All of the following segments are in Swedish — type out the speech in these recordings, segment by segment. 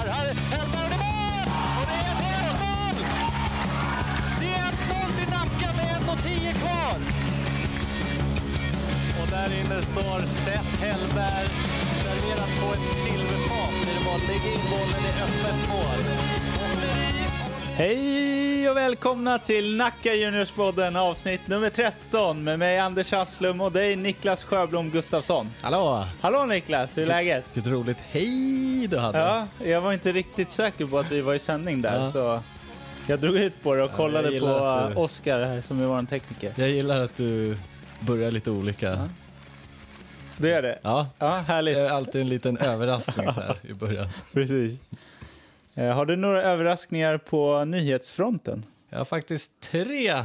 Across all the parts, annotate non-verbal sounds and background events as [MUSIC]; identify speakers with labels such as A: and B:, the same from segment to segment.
A: Elfsborg i mål! Och det är ett helmål! Det är 1-0 till Nacka med 1.10 kvar. Och där inne står Seth Hellberg, serverat på ett silverfat. Det var lägg in bollen i öppet mål.
B: Hej och välkomna till Nacka Juniors-podden avsnitt nummer 13 med mig Anders Hasslum och dig Niklas Sjöblom Gustafsson.
C: Hallå!
B: Hallå Niklas, hur är läget?
C: Vilket roligt hej du hade.
B: Ja, jag var inte riktigt säker på att vi var i sändning där
C: Ja.
B: så jag drog ut på det och kollade
C: jag
B: på
C: gillar att du-
B: Oskar här som är vår tekniker.
C: Jag gillar att du börjar lite olika.
B: Du gör det?
C: Ja.
B: Ja,
C: Det
B: härligt.
C: är alltid en liten överraskning så här i början.
B: Precis. Eh, Har du några överraskningar på nyhetsfronten?
C: Jag har faktiskt tre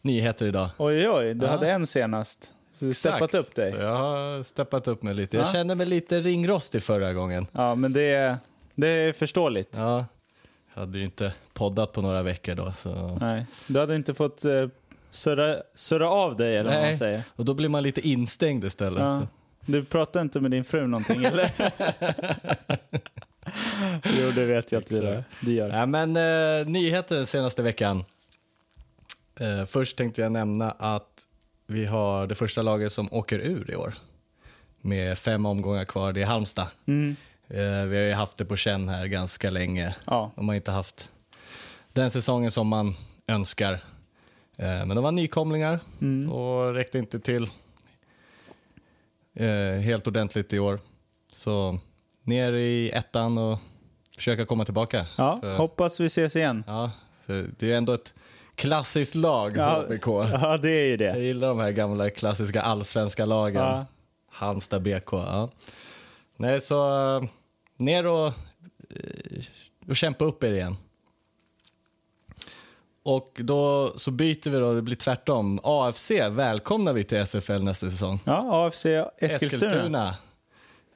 C: nyheter idag.
B: Oj, oj, du
C: Ja.
B: hade en senast. Så du steppat
C: Exakt.
B: upp dig.
C: Så jag har steppat upp mig lite. Jag
B: Ja.
C: kände mig lite ringrostig förra gången.
B: Ja, men det är, det är förståeligt.
C: Ja. Jag hade ju inte poddat på några veckor då. Så.
B: Nej, du hade inte fått eh, surra, surra av dig eller vad
C: Nej.
B: man säger.
C: Och då blir man lite instängd istället.
B: Ja.
C: Ja.
B: Du pratade inte med din fru någonting [LAUGHS] eller? jo, det vet jag att du, du gör.
C: Ja, men eh, nyheter den senaste veckan. Eh, först tänkte jag nämna att vi har det första laget som åker ur i år. Med fem omgångar kvar, det är Halmstad.
B: Mm.
C: Eh, vi har ju haft det på känn här ganska länge.
B: Ja.
C: De har inte haft den säsongen som man önskar. Eh, men de var nykomlingar och räckte inte till eh, helt ordentligt i år. Så ner i ettan och försöka komma tillbaka.
B: Ja,
C: För-
B: hoppas vi ses igen.
C: Ja, för det är ju ändå ett klassiskt lag,
B: Ja.
C: HBK.
B: Ja, det är ju
C: Jag
B: det.
C: gillar de här gamla klassiska allsvenska lagen.
B: Ja.
C: Halmstad BK. Ja. Nej, så eh, ner och, eh, och kämpa upp er igen. Och då så byter vi då, det blir tvärtom. AFC välkomnar vi till SFL nästa säsong.
B: Ja, AFC Eskilstuna.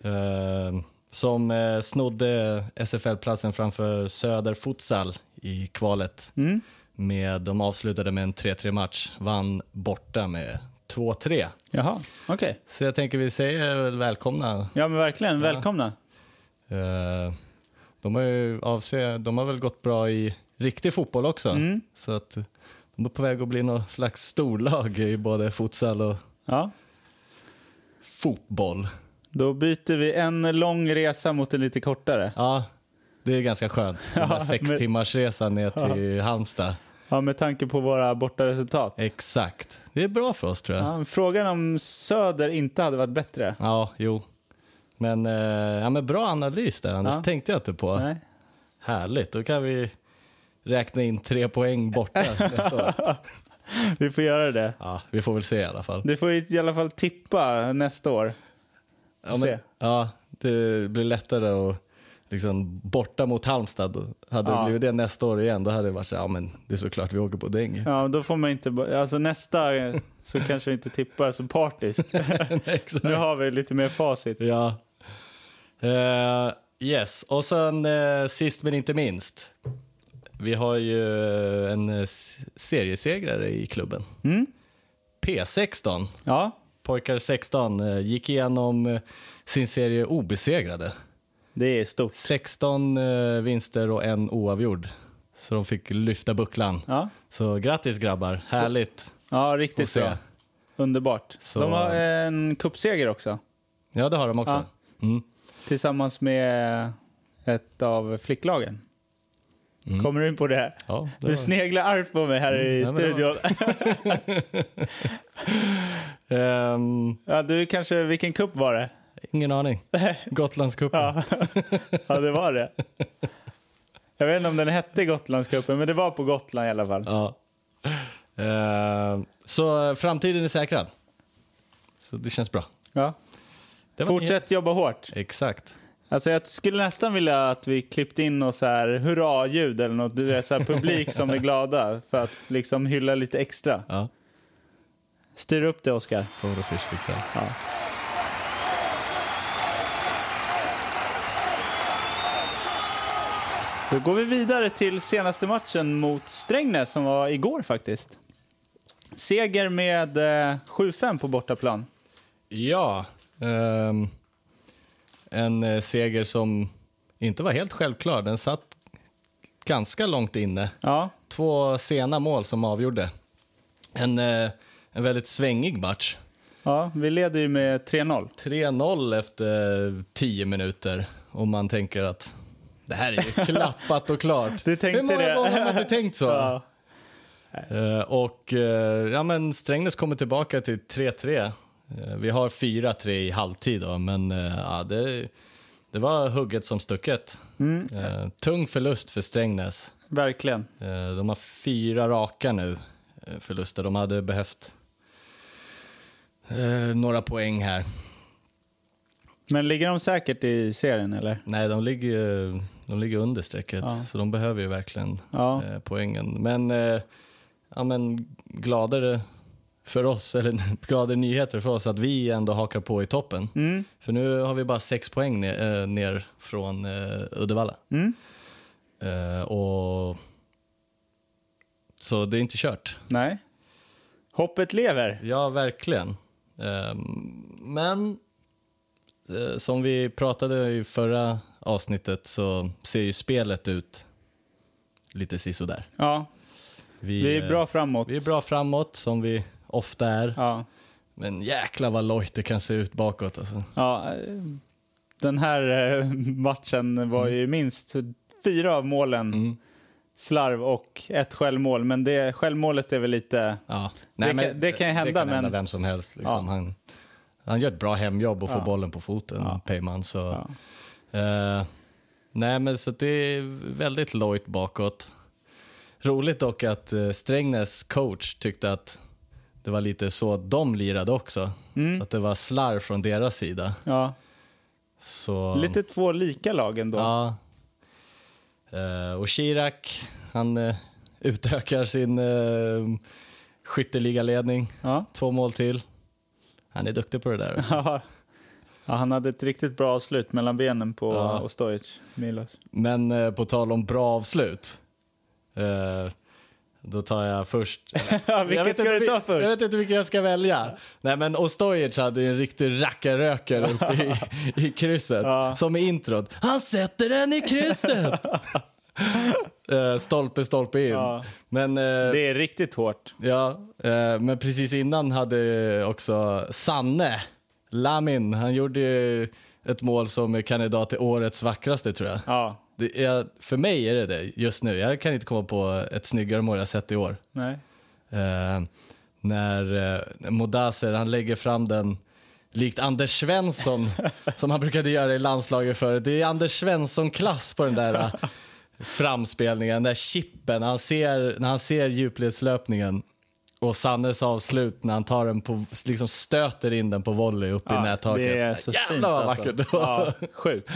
C: Eh, som eh, snodde SFL-platsen framför Söder Futsal i kvalet.
B: Mm.
C: Med, de avslutade med en 3-3-match, vann borta med 2-3.
B: Jaha, okej.
C: Så jag tänker vi säger väl välkomna.
B: Ja, men verkligen. Välkomna.
C: Eh, de, har ju avse, de har väl gått bra i riktig fotboll också.
B: Mm.
C: Så att de är på väg att bli något slags storlag i både futsal och
B: Ja,
C: fotboll.
B: då byter vi en lång resa mot en lite kortare.
C: Ja, det är
B: [LAUGHS]
C: ganska skönt. Den där
B: Ja,
C: sex
B: men-
C: timmars resan ner till Halmstad.
B: Ja, med tanke på våra bortaresultat.
C: Exakt. Det är bra för oss tror jag. Ja,
B: Ja, frågan om Söder inte hade varit bättre.
C: jo. Men, eh, ja, men bra analys där Anders,
B: Ja.
C: tänkte jag inte på.
B: Nej.
C: Härligt, då kan vi räkna in tre
B: [LAUGHS]
C: poäng borta nästa år.
B: Vi får göra det.
C: Ja, vi får väl se i alla fall.
B: Du får ju i alla fall tippa nästa år.
C: Ja,
B: se.
C: men, ja det blir lättare att liksom, borta mot Halmstad. då. Hade
B: Ja.
C: det blivit det nästa år igen, då hade det varit så här, ja men det är såklart vi åker på däng.
B: Ja, då får man inte... bo- Alltså nästa eh, så kanske vi inte tippar så
C: [LAUGHS]
B: partiskt.
C: Exakt.
B: Nu har vi lite mer facit.
C: Ja. Eh, yes, och sen eh, sist men inte minst. Vi har ju eh, en eh, s- seriesegrare i klubben.
B: Mm.
C: P16,
B: Ja,
C: pojkar 16, eh, gick igenom eh, sin serie obesegrade.
B: det är stort.
C: 16 eh, vinster och en oavgjord. Så de fick lyfta bucklan.
B: Ja,
C: Så grattis grabbar, härligt
B: ja
C: att
B: riktigt
C: se.
B: bra. Underbart.
C: Så-
B: De har en cupseger också.
C: Ja, det har de också. Mm.
B: Tillsammans med ett av flicklagen. Kommer du in på det?
C: Ja, det
B: Du
C: var-
B: sneglar argt på mig här i
C: Mm. ja, men det var-
B: studion.
C: Ehm,
B: Ja, du kanske, vilken cup var det? [LAUGHS]
C: ingen aning. Gotlandscupen.
B: Ja. [LAUGHS] ja, det var det. Jag vet inte om den hette Gotlandscupen, men det var på Gotland i alla fall.
C: Ja. Eh, så framtiden är säkrad. Så det känns bra.
B: Ja.
C: Det var
B: Fortsätt jobba hårt.
C: en- Exakt.
B: Alltså jag skulle nästan vilja att vi klippte in något så här hurra-ljud eller något. Du vet, så här publik som är glada för att liksom hylla lite extra.
C: Ja.
B: Styr upp det, Oskar.
C: Får och fish fixar.
B: Ja. Då går vi vidare till senaste matchen mot Strängnäs som var igår faktiskt. Seger med eh, 7-5 på bortaplan.
C: Ja. ehm, en eh, seger som inte var helt självklar. Den satt ganska långt inne.
B: Ja,
C: Två sena mål som avgjorde. En, eh, en väldigt svängig match.
B: ja vi leder ju med 3-0.
C: 3-0 efter 10 minuter och man tänker att det här
B: [LAUGHS]
C: är ju klappat och klart.
B: Du tänkte
C: Hur många
B: det?
C: gånger har man inte tänkt så?
B: [LAUGHS] Ja.
C: Eh, och eh, ja, men Strängnäs kommer tillbaka till 3-3. Eh, vi har 4-3 i halvtid då, men eh, ja, det, det var hugget som stucket. Eh, tung förlust för Strängnäs.
B: Verkligen.
C: Eh, De har fyra raka nu, eh, förluster. De hade behövt eh, några poäng här.
B: Men ligger de säkert i serien eller?
C: Nej, de ligger, ju- de ligger under strecket,
B: Ja.
C: så de behöver ju verkligen
B: Ja.
C: eh, poängen. Men, eh, ja, men gladare för oss, eller [LAUGHS] gladare nyheter för oss, att vi ändå hakar på i toppen.
B: Mm.
C: För nu har vi bara sex poäng ner, eh, ner från eh, Uddevalla.
B: Mm.
C: Eh, och... Så det är inte kört.
B: Nej. Hoppet lever.
C: Ja, verkligen. Ehm, men eh, som vi pratade i förra avsnittet så ser ju spelet ut lite sisådär.
B: Ja,
C: Vi,
B: vi är
C: eh,
B: bra framåt.
C: vi är bra framåt, som vi ofta är.
B: Ja.
C: Men jäkla vad lojt det kan se ut bakåt. Alltså.
B: Ja, eh, den här eh, matchen var ju minst fyra av målen
C: Mm.
B: slarv och ett självmål. Men det självmålet är väl lite...
C: Ja.
B: Det kan- det kan ju hända,
C: kan hända
B: men-
C: vem som helst. Liksom.
B: Ja.
C: Han, han gör ett bra hemjobb och får
B: Ja.
C: bollen på foten,
B: Ja.
C: Peyman. Så,
B: Ja.
C: eh, nej, men så att det är väldigt lojt bakåt. Roligt dock att eh, Strängnäs coach tyckte att det var lite så de lirade också.
B: Mm.
C: Så att det var slarv från deras sida.
B: Ja.
C: Så,
B: Lite två lika lag ändå.
C: Ja. Eh, och Chirac, han eh, utökar sin uh, skytteligaledning.
B: Ja. [LAUGHS]
C: Två mål till. Han är duktig på det där.
B: Ja. Ja, han hade ett riktigt bra avslut mellan benen på
C: Ja.
B: Ostojic, Milos.
C: [LAUGHS] Men eh, på tal om bra avslut. eh, då tar jag först...
B: Ja,
C: Jag
B: vilket
C: vet
B: ska
C: inte
B: du ta
C: vil- Jag
B: först?
C: vet inte vilken jag ska välja. Nej, men Ostojic hade ju en riktig rackarrökare uppe i, i krysset.
B: Ja.
C: Som i introt. Han sätter den i krysset! Eh, stolpe, stolpe in.
B: Ja.
C: Men, eh,
B: Det är riktigt hårt.
C: Ja, eh, men precis innan hade också Sanne Lamin, han gjorde ju ett mål som är kandidat till årets vackraste tror jag.
B: Ja,
C: Det är, för mig är det det just nu. Jag kan inte komma på ett snyggare mål jag sett i år.
B: nej.
C: Eh, när eh, Modaser, han lägger fram den likt
B: [LAUGHS]
C: Anders Svensson som han brukade göra i landslaget förut. Det är Anders Svensson-klass på den där eh, framspelningen, den där chippen. När han ser, när han ser djupledslöpningen och Sannes avslut när han tar den på, liksom stöter in den på volley upp i
B: Ja,
C: nättaket.
B: Det är så
C: Jävlar
B: fint
C: vad
B: alltså.
C: vackert det var.
B: Ja, sjukt.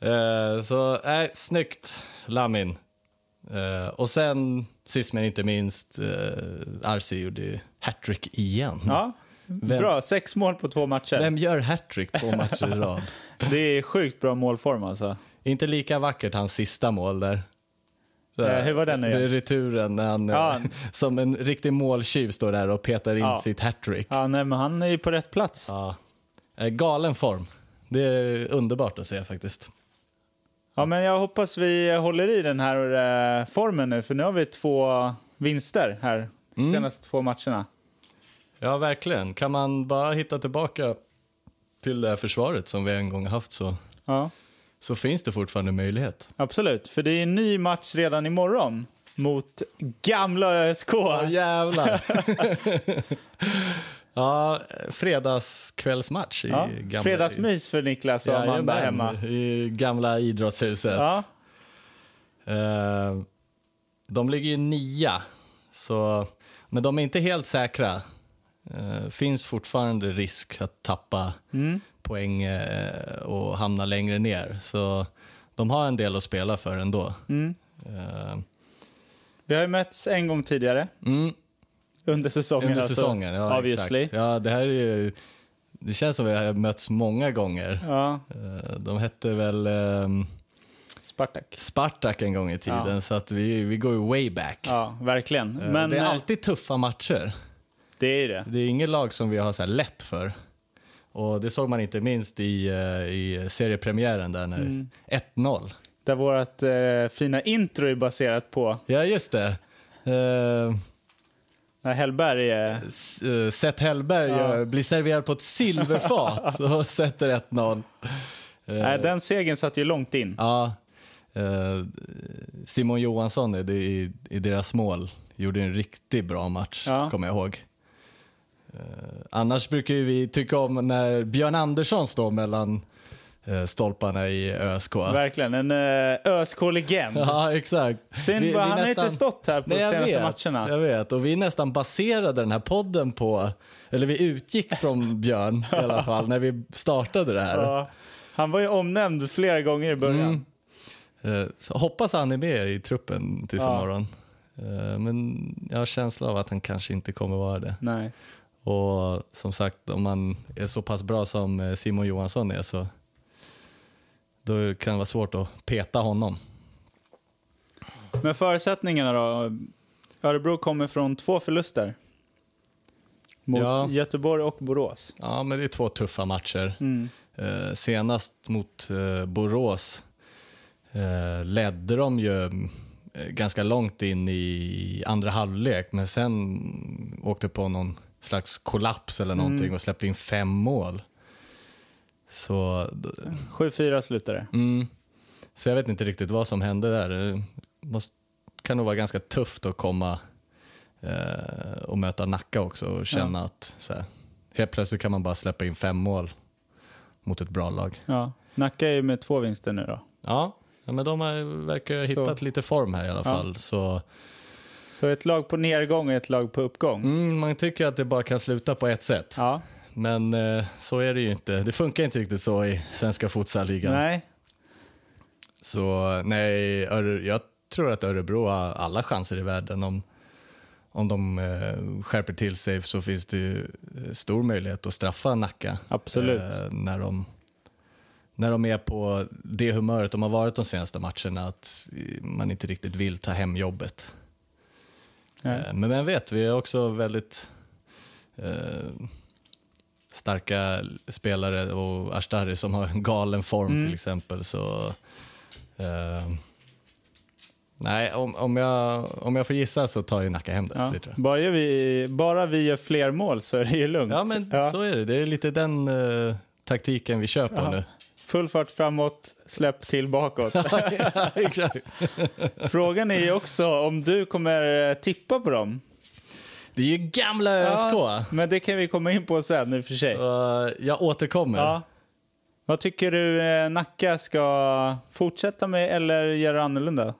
C: Eh, så nej, snyggt, Lamin. Eh, och sen, sist men inte minst, eh, Arce gjorde ju hattrick igen.
B: Ja,
C: Vem-
B: bra. Sex mål på två matcher.
C: Vem gör hattrick två matcher i
B: [LAUGHS]
C: rad?
B: Det är sjukt bra målform alltså.
C: inte lika vackert hans sista mål där.
B: Eh, hur var den nu
C: Det är
B: igen?
C: returen när han eh, [LAUGHS]
B: Ja.
C: som en riktig måltjuv står där och petar in
B: Ja.
C: sitt hattrick.
B: Ja, nej, men han är ju på rätt plats.
C: Ja. Eh, galen form. Det är underbart att se faktiskt.
B: Ja, men jag hoppas vi håller i den här eh, formen nu, för nu har vi två vinster här de
C: Mm.
B: senaste två matcherna.
C: Ja, verkligen. Kan man bara hitta tillbaka till det här försvaret som vi en gång haft så
B: Ja,
C: så finns det fortfarande möjlighet.
B: absolut. För det är en ny match redan imorgon mot gamla ÖSK.
C: Åh jävlar! [LAUGHS] ja, fredagskvällsmatch i
B: Ja,
C: gamla...
B: Fredagsmys för Niklas och Amanda
C: Jajamän,
B: hemma.
C: I gamla idrottshuset.
B: Ja,
C: Eh, de ligger ju nia, så... men de är inte helt säkra. Eh, finns fortfarande risk att tappa
B: Mm.
C: poäng eh, och hamna längre ner. Så de har en del att spela för ändå.
B: Mm.
C: Eh,
B: vi har ju mötts en gång tidigare
C: mm.
B: under säsongen.
C: Under
B: alltså,
C: säsongen, ja
B: obviously.
C: exakt. Ja, det här är ju... Det känns som vi har mötts många gånger.
B: Ja,
C: Eh, De hette väl ehm,
B: Spartak.
C: Spartak en gång i tiden,
B: Ja.
C: så att vi, vi går ju way back.
B: Ja, verkligen.
C: Eh,
B: Men
C: det är
B: eh,
C: alltid tuffa matcher.
B: det är ju det.
C: Det är inget lag som vi har så här lätt för. Och det såg man inte minst i, eh, i seriepremiären där när
B: Mm.
C: 1-0.
B: Där vårt eh, fina intro är baserat på
C: Ja, just det. Eh,
B: när Hellberg är...
C: S- eh, Seth Hellberg
B: Ja.
C: eh, blir serverad på
B: [LAUGHS]
C: ett silverfat och sätter 1-0. Eh,
B: Nej, den segern satt ju långt in.
C: Ja, eh, Simon Johansson är det i, i deras mål gjorde en riktigt bra match,
B: Ja.
C: kommer jag ihåg. Eh, annars brukar ju vi tycka om när Björn Andersson står mellan eh, stolparna i ÖSK.
B: Verkligen. En eh, ÖSK-legend.
C: Ja, exakt.
B: Synd bara, han har inte stått här på de
C: jag
B: senaste
C: vet,
B: matcherna.
C: Jag vet, och vi nästan baserade den här podden på, eller vi
B: [LAUGHS]
C: utgick från Björn i alla fall när vi startade det här.
B: Ja. Han var ju omnämnd flera gånger i början.
C: Mm. Eh, Så hoppas han är med i truppen tills
B: Ja.
C: imorgon. Eh, Men jag har känsla av att han kanske inte kommer vara det.
B: Nej.
C: Och som sagt, om man är så pass bra som eh, Simon Johansson är så då kan det vara svårt att peta honom.
B: Men förutsättningarna då? Örebro kommer från två förluster. Mot
C: Ja.
B: Göteborg och Borås.
C: Ja, men det är två tuffa matcher.
B: Mm.
C: Eh, senast mot eh, Borås eh, ledde de ju mm, eh, ganska långt in i andra halvlek men sen åkte på någon slags kollaps eller någonting och släppte in fem mål. Så, d-
B: 7-4 slutade det.
C: mm, så jag vet inte riktigt vad som hände där. Det måste, kan nog vara ganska tufft att komma eh, och möta Nacka också och känna att så här, helt plötsligt kan man bara släppa in fem mål mot ett bra lag.
B: Ja. Nacka är ju med två vinster nu då.
C: Ja, ja, men de har, verkar ha
B: Så.
C: hittat lite form här i alla
B: Ja.
C: fall. Så,
B: Så ett lag på nedgång och ett lag på uppgång.
C: mm, man tycker att det bara kan sluta på ett sätt,
B: Ja.
C: men eh, så är det ju inte. Det funkar inte riktigt så i svenska futsalligan.
B: Nej.
C: Så nej, Öre, jag tror att Örebro har alla chanser i världen. Om, om de eh, skärper till sig så finns det ju eh, stor möjlighet att straffa Nacka.
B: Absolut.
C: eh, när, de, när de är på det humöret de har varit de senaste matcherna, att eh, man inte riktigt vill ta hem jobbet.
B: Nej.
C: Eh, Men vem vet, vi har också väldigt eh, starka spelare och Ashtari som har en galen form
B: Mm.
C: till exempel. Så, eh, nej, om, om, jag, om jag får gissa så tar ju Nacka hem det.
B: Ja. Mm.
C: det tror jag.
B: Bara, vi, bara vi gör fler mål så är det ju lugnt.
C: ja men så är det. Det är lite den eh, taktiken vi kör på
B: Ja.
C: nu. [LAUGHS]
B: Full fart framåt, släpp till bakåt.
C: Ja, Exakt.
B: Frågan är ju också om du kommer eh, tippa på dem.
C: Det är ju gamla ÖSK.
B: Ja, men det kan vi komma in på sen i och för sig.
C: Så, eh, jag återkommer.
B: Ja. Vad tycker du eh, Nacka ska fortsätta med eller göra annorlunda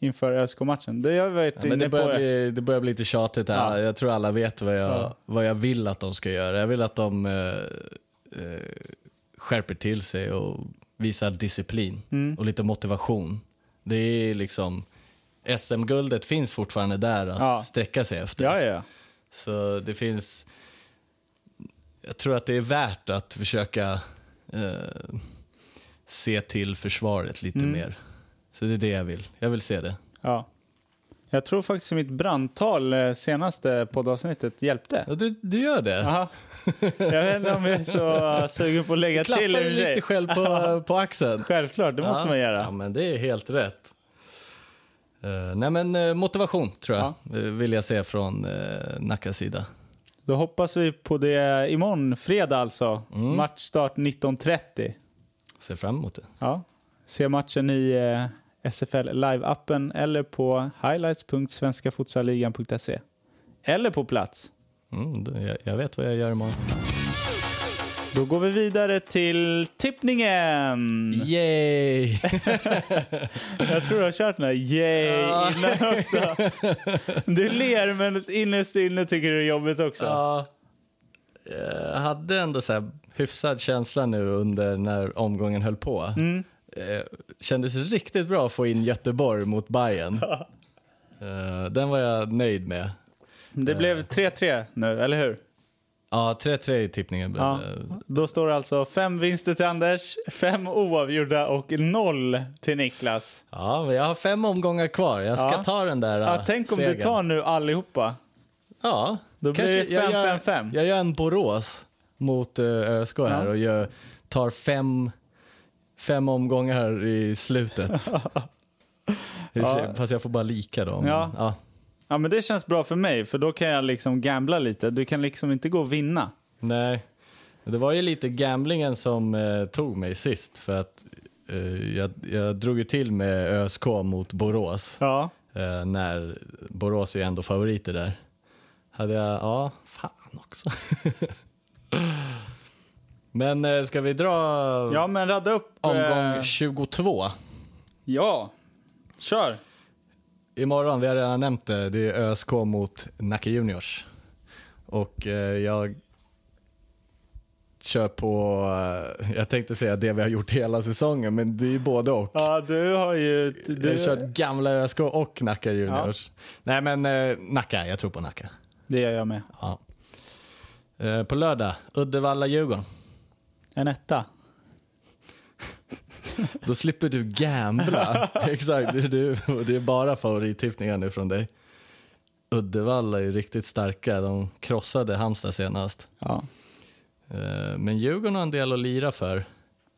B: inför ÖSK-matchen? Det jag varit
C: Ja,
B: inne
C: men det,
B: på.
C: börjar bli, det börjar bli lite tjatigt här.
B: Ja.
C: Jag tror alla vet vad jag,
B: Ja.
C: vad jag vill att de ska göra. Jag vill att de eh, eh, skärper till sig och visar disciplin
B: Mm.
C: och lite motivation. Det är liksom... SM-guldet finns fortfarande där att
B: Ja.
C: sträcka sig efter.
B: Ja, ja.
C: Så det finns... Jag tror att det är värt att försöka eh, se till försvaret lite
B: Mm.
C: mer. Så det är det jag vill. Jag vill se det.
B: ja. Jag tror faktiskt mitt brandtal eh, senaste poddavsnittet hjälpte.
C: Ja, du, du gör det?
B: Aha. Jag vet inte om jag är så sugen på att lägga
C: klappar
B: till i och
C: dig
B: för sig.
C: lite själv
B: [LAUGHS]
C: på, på axeln.
B: Självklart, det måste
C: ja.
B: man göra.
C: Ja, men det är helt rätt. Eh, nej, men eh, motivation tror jag eh, vill jag se från uh, Nackas sida.
B: Då hoppas vi på det imorgon, fredag alltså.
C: Mm.
B: Matchstart 19.30.
C: Ser fram emot det.
B: Ja. Se matchen i eh, SFL Live-appen eller på highlights.svenskafutsaligan.se. E. Eller på plats.
C: Mm, då- jag, jag vet vad jag gör imorgon.
B: Då går vi vidare till tippningen. [LAUGHS]
C: Yay!
B: Jag tror jag har kört den här yay innan också. Du ler men innerst inne tycker du det är jobbigt också.
C: Ja. Jag hade ändå så här hyfsad känsla nu under när omgången höll på.
B: Mm.
C: Eh, Kändes riktigt bra att få in Göteborg
B: [LAUGHS]
C: mot Bayern. Eh, Den var jag nöjd med.
B: Det blev 3-3 nu, eller hur?
C: Ja, 3-3 i tippningen blev
B: Ja.
C: det.
B: Då står det alltså fem vinster till Anders, fem oavgjorda och noll till Niklas.
C: Ja, men jag har fem omgångar kvar. Jag ska
B: Ja.
C: ta den där
B: Ja,
C: äh,
B: tänk om
C: segern.
B: du tar nu allihopa.
C: Ja.
B: Då blir
C: kanske
B: det
C: jag
B: fem,
C: gör-
B: fem, fem.
C: Jag gör en Borås mot eh, ÖSK här
B: Ja.
C: och gör, tar fem, fem omgångar här
B: [LAUGHS]
C: i slutet. I och för sig-
B: Ja.
C: Fast jag får bara lika då. men-
B: Ja.
C: Ja,
B: Ja, men det känns bra för mig, för då kan jag liksom gambla lite. Du kan liksom inte gå och vinna.
C: nej. Det var ju lite gamblingen som eh, tog mig sist för att eh, jag, jag drog ju till med ÖSK mot Borås.
B: Ja.
C: Eh, när Borås är ju ändå favoriter där. Hade jag, ja, fan också. [LAUGHS] Men eh, ska vi dra
B: Ja, men radda upp... eh,
C: omgång 22?
B: Ja. Kör.
C: Imorgon, vi har redan nämnt det, det är ÖSK mot Nacka Juniors. Och eh, jag kör på, eh, jag tänkte säga det vi har gjort hela säsongen, men det är ju både och.
B: Ja, du har ju...
C: Du
B: Du...
C: har kört gamla ÖSK och Nacka Juniors. Nej men eh, Nacka, jag tror på Nacka.
B: Det gör jag med.
C: Ja. Eh, På lördag, Uddevalla-Djurgården.
B: En etta.
C: Då slipper
B: [LAUGHS]
C: du gambla. Exakt, det är, du, och det är bara favorittippningar nu från dig. Uddevalla är ju riktigt starka. De krossade Halmstad senast.
B: Ja.
C: Eh, Men Djurgården har en del att lira för.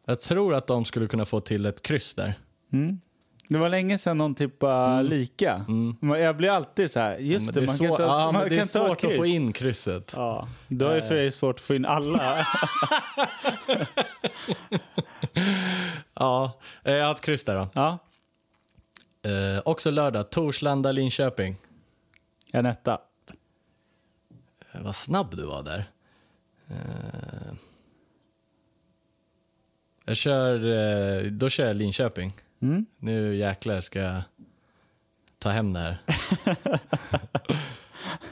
C: Jag tror att de skulle kunna få till ett kryss där.
B: Mm. Det var länge sedan någon tippade lika. Men Jag blir alltid så här, just
C: Men
B: det,
C: är
B: man
C: svår-
B: kan ta,
C: Mm. ja, men
B: man
C: det är
B: kan ta
C: svårt att
B: kryss.
C: få in krysset.
B: Ja, då är det för dig svårt att få in
C: [LAUGHS]
B: alla.
C: Ja, eh, jag har ett kryss där då.
B: ja,
C: Eh, också lördag, Torslanda-Linköping.
B: en etta.
C: Eh, Vad snabb du var där. Eh, Jag kör, eh, då kör jag Linköping.
B: Mm.
C: Nu jäklar ska jag ta
B: [LAUGHS]
C: hem det här.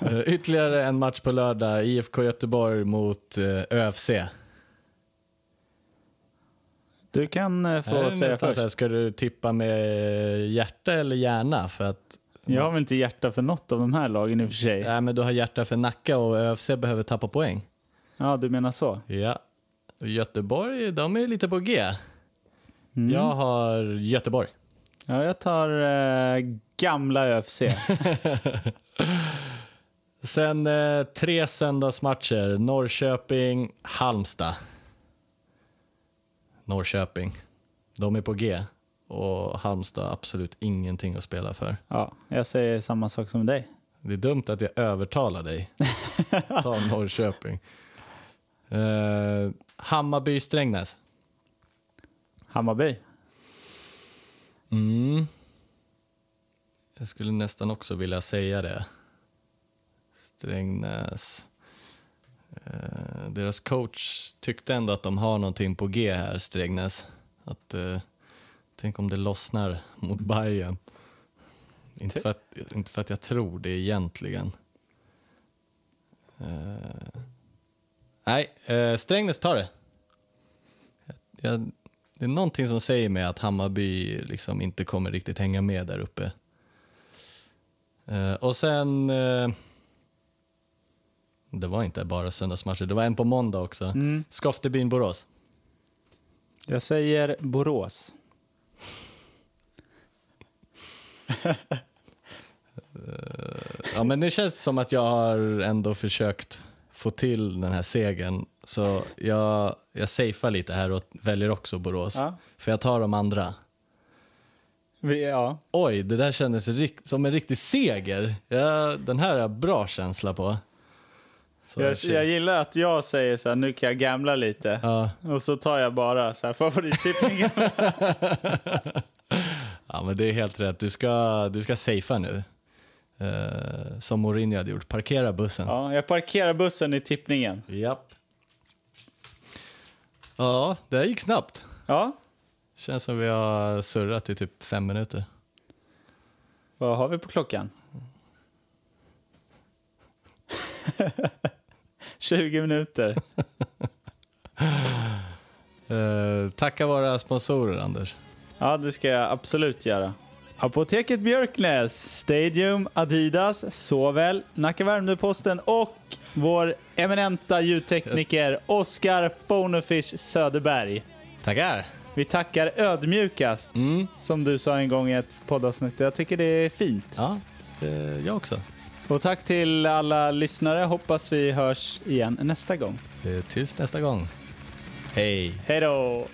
C: Eh, Ytterligare en match på lördag. IFK Göteborg mot eh, ÖFC.
B: Du kan eh,
C: Här är
B: få
C: det
B: säga
C: nästan
B: först.
C: så här, Ska du tippa med hjärta eller hjärna? För att,
B: Jag har väl inte hjärta för något av de här lagen i och för sig.
C: nej, men du har hjärta för Nacka och ÖFC behöver tappa poäng.
B: Ja, du menar så.
C: Ja. Och Göteborg, de är lite på G. Jag har Göteborg.
B: Ja, jag tar eh, gamla ÖFC.
C: [LAUGHS] Sen eh, tre söndagsmatcher. Norrköping, Halmstad. Norrköping. De är på G. Och Halmstad har absolut ingenting att spela för.
B: ja, jag säger samma sak som dig.
C: Det är dumt att jag övertalar dig. Ta Norrköping. Eh, Hammarby, Strängnäs.
B: Hammarby.
C: Mm. Jag skulle nästan också vilja säga det. Strängnäs. Eh, deras coach tyckte ändå att de har någonting på G här, Strängnäs. Att, eh, tänk om det lossnar mot Bayern. Inte för, att, inte för att jag tror det egentligen. Eh, nej, eh, Strängnäs tar det. Jag, det är någonting som säger mig att Hammarby liksom inte kommer riktigt hänga med där uppe. Eh, och sen... eh, det var inte bara söndagsmatcher, det var en på måndag också.
B: Mm.
C: Skoftebyn-Borås.
B: Jag säger Borås.
C: Ja, men nu känns det som att jag har ändå försökt få till den här segern. Så jag, jag safear lite här och väljer också Borås.
B: Ja.
C: För jag tar de andra.
B: Vi, ja.
C: Oj, det där kändes rikt- som en riktig seger. Ja, den här har jag bra känsla på. Så
B: jag,
C: jag känner-
B: jag gillar att jag säger så här, nu kan jag gamla lite.
C: ja.
B: Och så tar jag bara så här favorittippningen.
C: Ja, men det är helt rätt. Du ska, du ska safea nu. Eh, som Mourinho hade gjort. Parkera bussen.
B: [LAUGHS] ja, jag parkerar bussen i tippningen.
C: Japp. Ja, det här gick snabbt.
B: Ja,
C: Känns som vi har surrat i typ fem minuter.
B: vad har vi på [LAUGHS] klockan? 20 minuter.
C: Eh, tacka våra sponsorer, Anders.
B: Ja, det ska jag absolut göra. Apoteket Björknäs, Stadium, Adidas, såväl Nacka Värmdö-Posten och vår eminenta ljudtekniker Oskar Bonefish Söderberg.
C: Tackar.
B: Vi tackar ödmjukast,
C: Mm.
B: som du sa en gång i ett poddavsnitt. Jag tycker det är fint.
C: Ja, eh, jag också.
B: Och tack till alla lyssnare. Hoppas vi hörs igen nästa gång.
C: Eh, Tills nästa gång. Hej!
B: Hej då!